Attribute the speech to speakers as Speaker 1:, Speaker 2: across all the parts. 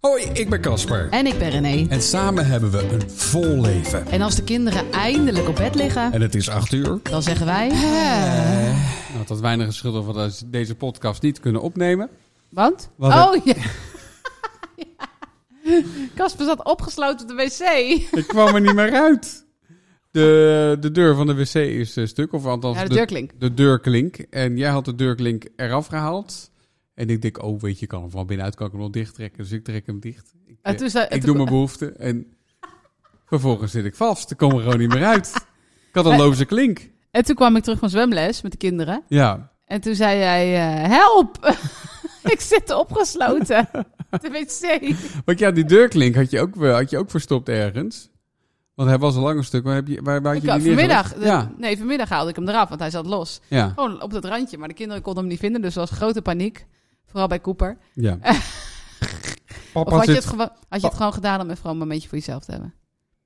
Speaker 1: Hoi, ik ben Casper.
Speaker 2: En ik ben René.
Speaker 1: En samen hebben we een vol leven.
Speaker 2: En als de kinderen eindelijk op bed liggen,
Speaker 1: En het is acht uur.
Speaker 2: dan zeggen wij... "Hè?"
Speaker 1: Nou, dat weinig is schuldig van dat we deze podcast niet kunnen opnemen.
Speaker 2: Want?
Speaker 1: Wat
Speaker 2: oh ja. Ja. Casper zat opgesloten op de wc.
Speaker 1: Ik kwam er niet meer uit. De, de deur van de wc is eh, stuk, of althans
Speaker 2: Ja, de deurklink.
Speaker 1: de deurklink. En jij had de deurklink eraf gehaald. En ik denk, oh weet je, ik kan hem van binnenuit, kan ik hem wel dicht trekken. Dus ik trek hem dicht. Ik, eh,
Speaker 2: En toen zei- en
Speaker 1: ik
Speaker 2: toen-
Speaker 1: doe mijn behoefte. En vervolgens zit ik vast. Ik kom er gewoon niet meer uit. Ik had een
Speaker 2: Maar-
Speaker 1: loze klink.
Speaker 2: En toen kwam ik terug van zwemles met de kinderen.
Speaker 1: Ja,
Speaker 2: En toen zei jij, eh, help! ik zit opgesloten. op de wc.
Speaker 1: Want ja, die deurklink had je ook, wel- had je ook verstopt ergens. Want hij was een lang stuk. Waar, heb je, waar, waar had
Speaker 2: Ik,
Speaker 1: je die
Speaker 2: vanmiddag,
Speaker 1: neergelegd? Ja,
Speaker 2: nee, vanmiddag haalde ik hem eraf, want hij zat los.
Speaker 1: ja,
Speaker 2: Gewoon op dat randje, maar de kinderen konden hem niet vinden. Dus er was grote paniek. Vooral bij Cooper.
Speaker 1: ja.
Speaker 2: Of
Speaker 1: Papa
Speaker 2: had je,
Speaker 1: zit-
Speaker 2: het gewoon, had je het gewoon gedaan om even gewoon een momentje voor jezelf te hebben?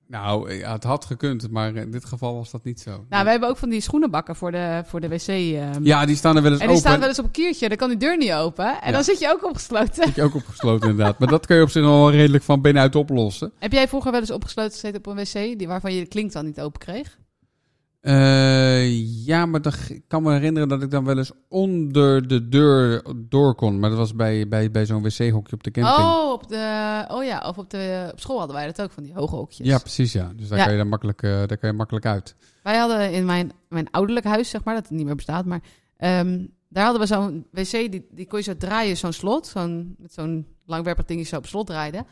Speaker 1: Nou, ja, het had gekund, maar in dit geval was dat niet zo.
Speaker 2: Nou, we hebben ook van die schoenenbakken voor de, voor de wc. ehm.
Speaker 1: Ja, die staan er wel eens
Speaker 2: en die
Speaker 1: open.
Speaker 2: staan wel eens op een kiertje, dan kan die deur niet open. En
Speaker 1: Ja.
Speaker 2: dan zit je ook opgesloten.
Speaker 1: Heb je ook opgesloten inderdaad. Maar dat kun je op zich nog wel redelijk van binnenuit oplossen.
Speaker 2: Heb jij vroeger wel eens opgesloten gezeten op een wc die, waarvan je de klink dan niet open kreeg?
Speaker 1: Eh, ja, maar dan, ik kan me herinneren dat ik dan wel eens onder de deur door kon. Maar dat was bij, bij, bij zo'n wc-hokje op de camping.
Speaker 2: Oh, op de, oh ja, of op, de, op school hadden wij dat ook, van die hoge hokjes.
Speaker 1: ja, precies ja. Dus daar,
Speaker 2: Ja.
Speaker 1: Kan je dan makkelijk, eh, daar kan je makkelijk uit.
Speaker 2: Wij hadden in mijn, mijn ouderlijk huis, zeg maar, dat het niet meer bestaat, maar ehm, daar hadden we zo'n wc, die, die kon je zo draaien, zo'n slot, zo'n, met zo'n langwerpig dingetje zo op slot draaien.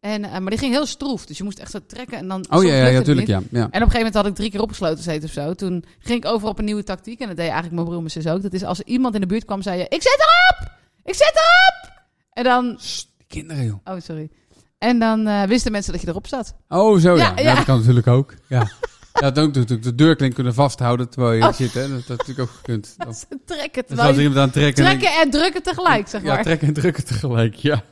Speaker 2: En, eh, maar die ging heel stroef, dus je moest echt zo trekken en dan...
Speaker 1: Oh
Speaker 2: soms
Speaker 1: ja, ja,
Speaker 2: lukte
Speaker 1: ja,
Speaker 2: het
Speaker 1: natuurlijk
Speaker 2: niet.
Speaker 1: ja. ja.
Speaker 2: En op een gegeven moment had ik drie keer opgesloten gezeten of zo. Toen ging ik over op een nieuwe tactiek. En dat deed eigenlijk mijn broer en mijn zus ook. Dat is als er iemand in de buurt kwam, zei je... Ik zet erop! Ik zet erop! En dan...
Speaker 1: Sst, die kinderen joh.
Speaker 2: Oh, sorry. En dan eh, wisten mensen dat je erop zat.
Speaker 1: Oh, zo ja.
Speaker 2: Ja,
Speaker 1: Ja,
Speaker 2: ja.
Speaker 1: dat kan natuurlijk ook. Ja. ja, dat ook natuurlijk de deurklink kunnen vasthouden terwijl je
Speaker 2: Oh.
Speaker 1: er zit. Hè. Dat had natuurlijk ook gekund. Dan,
Speaker 2: Ze trekken
Speaker 1: Oh. dan zou
Speaker 2: terwijl
Speaker 1: er
Speaker 2: je...
Speaker 1: iemand aan trekken. en
Speaker 2: Trekken en drukken tegelijk, zeg
Speaker 1: denk-
Speaker 2: maar.
Speaker 1: ja, trekken en drukken tegelijk, ja.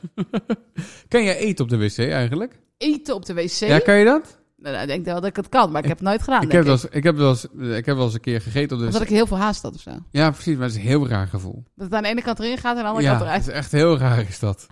Speaker 1: kan jij eten op de wc eigenlijk?
Speaker 2: Eten op de wc.
Speaker 1: Ja, kan je dat?
Speaker 2: Nou, nou, ik denk wel dat ik het kan, maar ik heb het nooit gedaan,
Speaker 1: ik, heb
Speaker 2: denk
Speaker 1: wel eens, ik, heb wel eens, ik heb wel eens een keer gegeten op de
Speaker 2: Omdat
Speaker 1: wc.
Speaker 2: ik heel veel haast had of zo.
Speaker 1: Ja, precies, maar het is een heel raar gevoel.
Speaker 2: Dat het aan de ene kant erin gaat en aan de andere
Speaker 1: ja,
Speaker 2: kant
Speaker 1: het
Speaker 2: eruit.
Speaker 1: is echt heel raar is dat.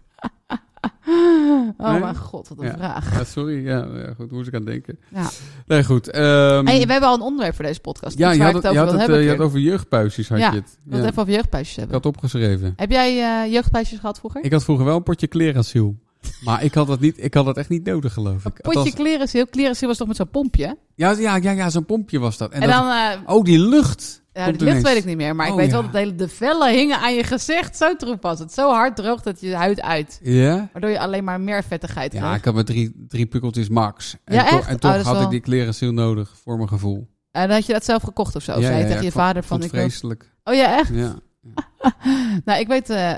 Speaker 2: Oh
Speaker 1: Nee?
Speaker 2: mijn god, wat een
Speaker 1: Ja.
Speaker 2: vraag.
Speaker 1: Ja, sorry, ja, ja, goed, hoe ze kan denken.
Speaker 2: Ja.
Speaker 1: Nee, goed. ehm,
Speaker 2: Hey, we hebben al een onderwerp voor deze podcast.
Speaker 1: ja,
Speaker 2: iets
Speaker 1: je
Speaker 2: waar
Speaker 1: had het,
Speaker 2: ik het
Speaker 1: je
Speaker 2: over
Speaker 1: had het,
Speaker 2: wil hebben.
Speaker 1: eh, je
Speaker 2: Kurt.
Speaker 1: had het over jeugdpuisjes, had
Speaker 2: Ja,
Speaker 1: je het.
Speaker 2: Ik wil
Speaker 1: Ja,
Speaker 2: het even over jeugdpuisjes
Speaker 1: Ik
Speaker 2: hebben.
Speaker 1: had opgeschreven.
Speaker 2: Heb jij eh, jeugdpuisjes gehad vroeger?
Speaker 1: Ik had vroeger wel een potje klerenasiel. Maar ik had dat, niet, ik had dat echt niet nodig, geloof
Speaker 2: Een
Speaker 1: ik.
Speaker 2: potje
Speaker 1: Althans-
Speaker 2: klerenziel. Klerenziel was toch met zo'n pompje? En,
Speaker 1: ja, ja, ja, ja zo'n pompje was dat. En, dat-
Speaker 2: dan... eh
Speaker 1: oh, die lucht.
Speaker 2: ja,
Speaker 1: komt
Speaker 2: het licht
Speaker 1: ineens.
Speaker 2: weet ik niet meer, maar ik
Speaker 1: Oh,
Speaker 2: weet
Speaker 1: ja.
Speaker 2: wel dat de hele de vellen hingen aan je gezicht. Zo troep was het. Zo hard droog dat je huid uit.
Speaker 1: Ja?
Speaker 2: Waardoor je alleen maar meer vettigheid
Speaker 1: Ja,
Speaker 2: kreeg.
Speaker 1: ik had maar drie, drie pukkeltjes max. En,
Speaker 2: Ja,
Speaker 1: toch-
Speaker 2: echt?
Speaker 1: en
Speaker 2: Oh,
Speaker 1: toch
Speaker 2: dat is
Speaker 1: had ik
Speaker 2: wel-
Speaker 1: die klerenasiel nodig, voor mijn gevoel.
Speaker 2: En had je dat zelf gekocht of zo? Of
Speaker 1: Ja,
Speaker 2: zei je
Speaker 1: ja,
Speaker 2: tegen
Speaker 1: ja,
Speaker 2: je
Speaker 1: ik vond-
Speaker 2: vader van...
Speaker 1: vond het
Speaker 2: wil-
Speaker 1: vreselijk.
Speaker 2: Oh ja, echt?
Speaker 1: Ja.
Speaker 2: Nou, ik weet... eh,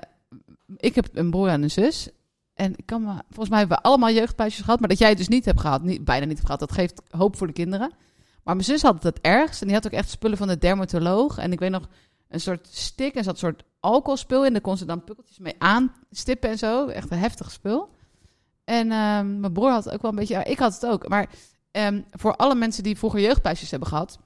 Speaker 2: ik heb een broer en een zus. En ik kan me, volgens mij hebben we allemaal jeugdpuisjes gehad. Maar dat jij het dus niet hebt gehad, niet, bijna niet hebt gehad, dat geeft hoop voor de kinderen. Maar mijn zus had het het ergst. En die had ook echt spullen van de dermatoloog. En ik weet nog een soort stick en zat een soort alcoholspul in. Daar kon ze dan pukkeltjes mee aanstippen en zo. Echt een heftig spul. En ehm, mijn broer had het ook wel een beetje. ja, Ik had het ook. Maar ehm, voor alle mensen die vroeger jeugdpuisjes hebben gehad.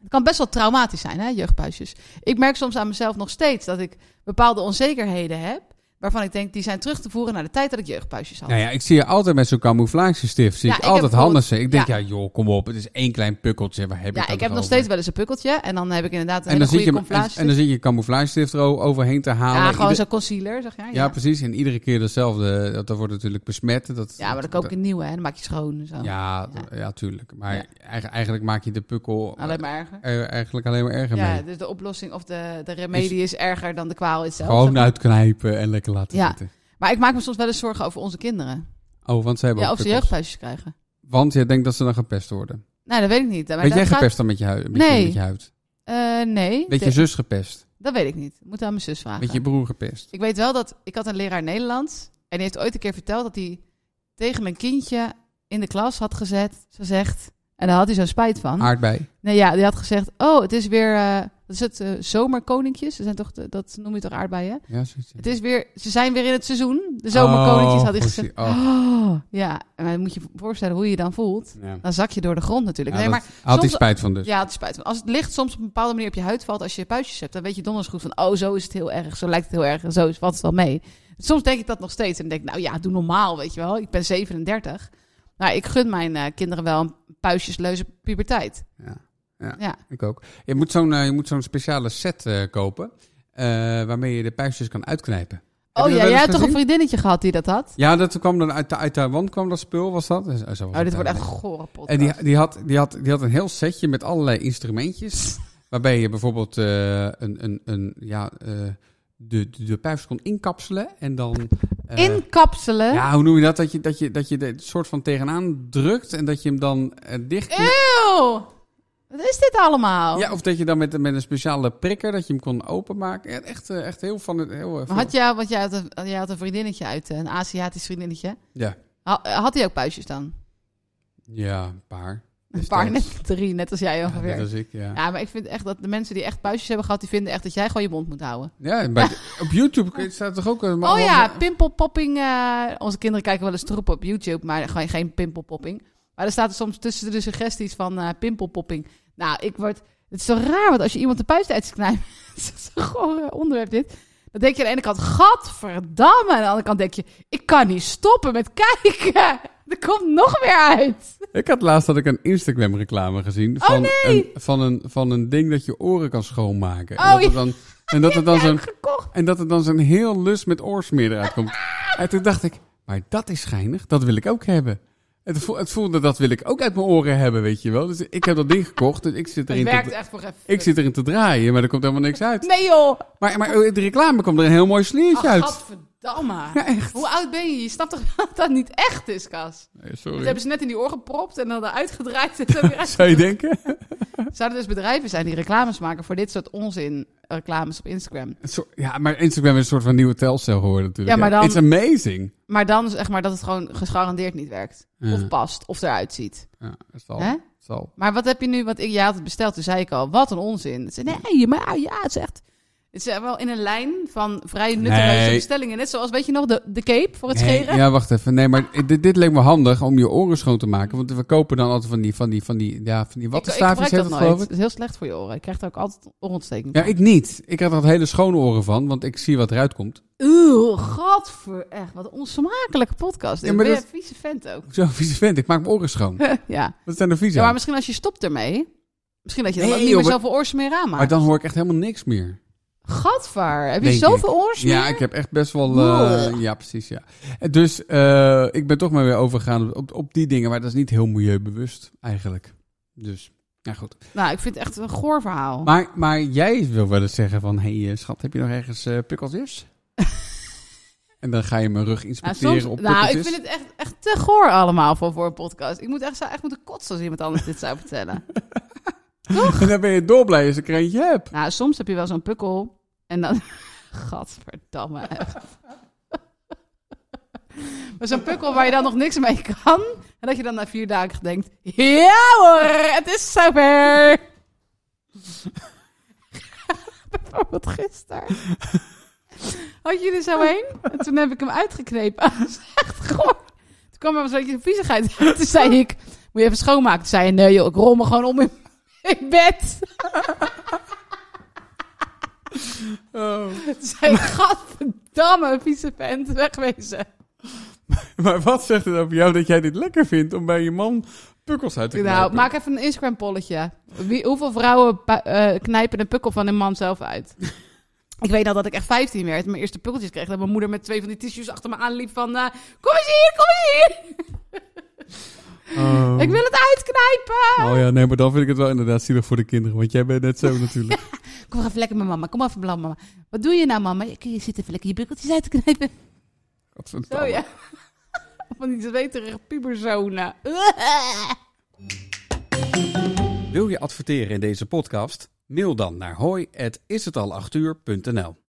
Speaker 2: Het kan best wel traumatisch zijn, hè, jeugdpuisjes. Ik merk soms aan mezelf nog steeds dat ik bepaalde onzekerheden heb. Waarvan ik denk, die zijn terug te voeren naar de tijd dat ik jeugdpuisjes had.
Speaker 1: Nou ja, ik zie je altijd met zo'n camouflagestift. Zie
Speaker 2: Ja,
Speaker 1: ik
Speaker 2: ik
Speaker 1: je altijd
Speaker 2: heb
Speaker 1: handen
Speaker 2: bijvoorbeeld-
Speaker 1: zeggen. Ik denk, ja.
Speaker 2: ja.
Speaker 1: joh, kom op. Het is één klein pukkeltje. Waar heb
Speaker 2: Ja,
Speaker 1: ik,
Speaker 2: ik,
Speaker 1: dat
Speaker 2: heb
Speaker 1: toch
Speaker 2: nog
Speaker 1: over?
Speaker 2: steeds wel eens een pukkeltje. En dan heb ik inderdaad een
Speaker 1: En dan,
Speaker 2: hele
Speaker 1: zit
Speaker 2: goede
Speaker 1: je, hem- en,
Speaker 2: camouflage.
Speaker 1: en dan zit je camouflagestift er o- overheen te halen.
Speaker 2: ja, gewoon
Speaker 1: Ieder-
Speaker 2: zo'n concealer, zeg jij.
Speaker 1: Ja, precies. En iedere keer dezelfde. eh, Dat, dat wordt natuurlijk besmet. Dat,
Speaker 2: Ja, maar dan koop ik een nieuwe hè, dan maak je schoon en zo.
Speaker 1: Ja,
Speaker 2: Ja.
Speaker 1: d- ja, tuurlijk. Maar
Speaker 2: Ja.
Speaker 1: eigen- eigenlijk maak je de pukkel
Speaker 2: Alleen maar erger.
Speaker 1: eh, er- eigenlijk alleen maar erger
Speaker 2: Ja,
Speaker 1: mee.
Speaker 2: dus de oplossing of de, de remedie is erger dan de kwaal itself. zeg
Speaker 1: Gewoon
Speaker 2: maar.
Speaker 1: uitknijpen en lekker laten
Speaker 2: Ja.
Speaker 1: zitten.
Speaker 2: Maar ik maak me soms wel eens zorgen over onze kinderen.
Speaker 1: Oh, want zij hebben
Speaker 2: Ja,
Speaker 1: ook
Speaker 2: of ze
Speaker 1: pukkels.
Speaker 2: jeugdpuisjes krijgen.
Speaker 1: Want jij denkt dat ze dan gepest worden.
Speaker 2: Nee, dat weet ik niet. Maar
Speaker 1: Weet
Speaker 2: dat
Speaker 1: jij
Speaker 2: gaat-
Speaker 1: gepest dan met je, huid, met, je,
Speaker 2: Nee.
Speaker 1: met je huid?
Speaker 2: Eh, nee,
Speaker 1: Weet
Speaker 2: De-
Speaker 1: je zus gepest?
Speaker 2: dat weet ik niet. Moet aan mijn zus vragen.
Speaker 1: Weet je broer gepest?
Speaker 2: Ik weet wel dat ik had een leraar Nederlands. En die heeft ooit een keer verteld dat hij tegen mijn kindje in de klas had gezet, gezegd. En daar had hij zo spijt van.
Speaker 1: Aardbei.
Speaker 2: Nee, ja, die had gezegd: Oh, het is weer. eh, wat is het eh, zomerkoninkjes? Er zijn toch, de- dat noem je toch aardbeien?
Speaker 1: Ja, zoiets.
Speaker 2: Het is weer, ze zijn weer in het seizoen. De zomerkoninkjes
Speaker 1: Oh,
Speaker 2: had hij
Speaker 1: precies.
Speaker 2: gezegd.
Speaker 1: Oh.
Speaker 2: Oh, ja, en dan moet je je voorstellen hoe je je dan voelt.
Speaker 1: Ja.
Speaker 2: Dan zak je door de grond natuurlijk.
Speaker 1: Ja,
Speaker 2: nee,
Speaker 1: dat-
Speaker 2: maar
Speaker 1: had hij
Speaker 2: soms-
Speaker 1: spijt van dus.
Speaker 2: ja, het is spijt. Als het licht soms op een bepaalde manier op je huid valt, als je puistjes hebt, dan weet je donders goed van, oh, zo is het heel erg, zo lijkt het heel erg, en zo is- valt het wel mee. Soms denk ik dat nog steeds. En denk ik, nou ja, doe normaal, weet je wel. Ik ben 37. Nou, ik gun mijn eh, kinderen wel een puistjesleuze puberteit.
Speaker 1: Ja.
Speaker 2: Ja.
Speaker 1: Ik ook. Je moet zo'n eh, je moet zo'n speciale set eh, kopen. eh, waarmee je de puistjes kan uitknijpen. Heb je dat
Speaker 2: Oh ja,
Speaker 1: wel
Speaker 2: jij
Speaker 1: eens
Speaker 2: hebt toch een
Speaker 1: gezien?
Speaker 2: vriendinnetje gehad die dat had?
Speaker 1: Ja, dat kwam dan uit, uit Taiwan kwam dat spul, was dat? Eh, zo was
Speaker 2: Oh,
Speaker 1: het,
Speaker 2: dit wordt
Speaker 1: eh,
Speaker 2: echt een gore podcast.
Speaker 1: En die, die, had, die, had, die had een heel setje met allerlei instrumentjes. waarbij je bijvoorbeeld eh, een, een, een, ja, eh, de, de, de pijpers kon inkapselen. En dan. eh,
Speaker 2: Inkapselen?
Speaker 1: Ja, hoe noem je dat? Dat je, dat je, dat je er soort van tegenaan drukt en dat je hem dan eh, dicht.
Speaker 2: Eeuw! Wat is dit allemaal?
Speaker 1: Ja, of dat je dan met, met een speciale prikker dat je hem kon openmaken. Ja, echt, eh, echt heel van het. Heel, eh,
Speaker 2: Maar had jij, want jij had, een, jij had een vriendinnetje uit, eh, een Aziatisch vriendinnetje.
Speaker 1: Ja.
Speaker 2: Ha- Had hij ook puistjes dan?
Speaker 1: ja, een paar.
Speaker 2: Een
Speaker 1: Destijds.
Speaker 2: paar, net drie, net als
Speaker 1: Dus
Speaker 2: jij
Speaker 1: Ja, net
Speaker 2: ongeveer. Ja,
Speaker 1: als ik, ja.
Speaker 2: maar ik vind echt dat de mensen die echt puistjes hebben gehad, die vinden echt dat jij gewoon je mond moet houden.
Speaker 1: Ja, en bij, op YouTube staat toch ook... eh, een-
Speaker 2: oh ja, pimpelpopping. eh, onze kinderen kijken wel eens troep op YouTube, maar gewoon geen pimpelpopping. Maar er staat er soms tussen de suggesties van eh pimpelpopping. Nou, ik word... Het is zo raar, want als je iemand de puist uitknijpt... het is zo'n goor onderwerp dit. Dan denk je aan de ene kant, gadverdamme. En aan de andere kant denk je, ik kan niet stoppen met kijken. Er komt nog weer uit.
Speaker 1: Ik had laatst had ik een Instagram reclame gezien van,
Speaker 2: Oh, nee!
Speaker 1: een, van, een, van een ding dat je oren kan schoonmaken.
Speaker 2: Oh,
Speaker 1: en dat
Speaker 2: ja.
Speaker 1: er dan, en dat er dan zo'n
Speaker 2: Gekocht.
Speaker 1: en dat er dan zo'n heel lus met oorsmeer eruit komt. En toen dacht ik, maar dat is schijnig, dat wil ik ook hebben. Het, voel, het voelde dat wil ik ook uit mijn oren hebben, weet je wel. Dus ik heb dat ding gekocht, dus ik zit
Speaker 2: Het
Speaker 1: erin,
Speaker 2: werkt
Speaker 1: te,
Speaker 2: echt voor even.
Speaker 1: ik zit erin te draaien, maar er komt helemaal niks uit.
Speaker 2: Nee joh.
Speaker 1: Maar, maar de reclame kwam er een heel mooi sliertje
Speaker 2: Ach,
Speaker 1: uit.
Speaker 2: gadverdamme.
Speaker 1: Ja, echt.
Speaker 2: Hoe oud ben je? Je snapt toch dat dat niet echt is, Kas?
Speaker 1: Nee,
Speaker 2: Dat
Speaker 1: Eh, Sorry.
Speaker 2: hebben ze net in die oor gepropt en dan eruit gedraaid. En dan weer uit-
Speaker 1: Zou je denken?
Speaker 2: Zouden dus bedrijven zijn die reclames maken voor dit soort onzin reclames op Instagram.
Speaker 1: Een soort- Ja, maar Instagram is een soort van nieuwe telcel geworden natuurlijk.
Speaker 2: Ja, maar dan-
Speaker 1: It's amazing.
Speaker 2: Maar dan is echt maar dat het gewoon gegarandeerd niet werkt.
Speaker 1: Ja. Oh.
Speaker 2: Of past, of eruit ziet.
Speaker 1: Ja, het zal.
Speaker 2: Hè?
Speaker 1: het zal.
Speaker 2: Maar wat heb je nu, want ik, jij had het besteld, toen zei ik al, wat een onzin. Het zei, nee, maar ja, het is echt... Het is wel in een lijn van vrij nutteloze
Speaker 1: Nee.
Speaker 2: bestellingen. Net zoals, weet je nog, de, de cape voor het
Speaker 1: Nee,
Speaker 2: scheren.
Speaker 1: ja, wacht even. Nee, maar dit, dit leek me handig om je oren schoon te maken. Want we kopen dan altijd van die, van die, van die, ja, van die wattenstaafjes, heet
Speaker 2: gebruik
Speaker 1: dat
Speaker 2: dat
Speaker 1: geloof
Speaker 2: Het
Speaker 1: ik?
Speaker 2: is heel slecht voor je oren. Ik krijg er ook altijd oorontsteking
Speaker 1: Ja, ik niet. Ik had er altijd hele schone oren van, want ik zie wat eruit komt.
Speaker 2: Oeh, gadver, echt. Wat een onsmakelijke podcast.
Speaker 1: Ja,
Speaker 2: Ik
Speaker 1: maar
Speaker 2: ben
Speaker 1: dat-
Speaker 2: een vieze vent ook.
Speaker 1: Zo vies vind ik. Ik maak mijn oren schoon.
Speaker 2: ja.
Speaker 1: Wat zijn er vies
Speaker 2: ja, maar
Speaker 1: aan?
Speaker 2: misschien als je stopt ermee. Misschien dat je dan
Speaker 1: Nee,
Speaker 2: ook niet
Speaker 1: joh,
Speaker 2: meer
Speaker 1: maar-
Speaker 2: zoveel oors meer aanmaakt.
Speaker 1: Maar dan hoor ik echt helemaal niks meer.
Speaker 2: Gadver, heb je
Speaker 1: Denk
Speaker 2: zoveel oors meer?
Speaker 1: Ja, ik heb echt best wel... eh, ja, precies, ja. En Dus eh, ik ben toch maar weer overgegaan op, op, op die dingen. Maar dat is niet heel milieubewust, eigenlijk. Dus, ja goed.
Speaker 2: Nou, ik vind het echt een goor verhaal.
Speaker 1: Maar, maar jij wil wel eens zeggen van... Hé hey, eh, schat, heb je nog ergens eh, pikkeltjes? en dan ga je mijn rug
Speaker 2: nou,
Speaker 1: inspecteren
Speaker 2: soms,
Speaker 1: op
Speaker 2: nou, ik
Speaker 1: pikkeltjes.
Speaker 2: vind het echt, echt te goor allemaal voor, voor een podcast. Ik moet echt, zou echt moeten kotsen als iemand anders dit zou vertellen.
Speaker 1: En dan ben je dolblij als ik er eentje heb.
Speaker 2: nou, soms heb je wel zo'n pukkel en dan... Gadverdamme, echt. Maar zo'n pukkel waar je dan nog niks mee kan. En dat je dan na vier dagen denkt... Ja hoor, het is zover. Bijvoorbeeld gisteren. Had je er zo heen? En toen heb ik hem uitgeknepen. Dat is echt goor. Toen kwam er een beetje viezigheid uit. Toen zei ik... Moet je even schoonmaken? Toen zei hij... Nee joh, ik rol me gewoon om in in bed. Toen zei ik... Gadverdamme, vieze vent. Wegwezen.
Speaker 1: Maar wat zegt het over jou dat jij dit lekker vindt om bij je man pukkels uit te knijpen?
Speaker 2: Nou, maak even een Instagram-polletje. Wie- Hoeveel vrouwen pu- eh, knijpen een pukkel van hun man zelf uit? Ik weet al dat ik echt 15 werd. Mijn eerste pukkeltjes kreeg. Dat mijn moeder met twee van die tissues achter me aanliep van... eh, kom eens hier, kom eens hier.
Speaker 1: Oh.
Speaker 2: Ik wil het uitknijpen.
Speaker 1: Oh ja, nee, maar dan vind ik het wel inderdaad zielig voor de kinderen. Want jij bent net zo natuurlijk.
Speaker 2: Kom even lekker met mama. Kom even blauw, mama. Wat doe je nou, mama? Je, je zit even lekker je pukkeltjes uit te knijpen.
Speaker 1: Godverdamme.
Speaker 2: Zo, ja. Van die zweterige puberzonen.
Speaker 1: Wil je adverteren in deze podcast? Mail dan naar hoi@ishetalachuur.nl.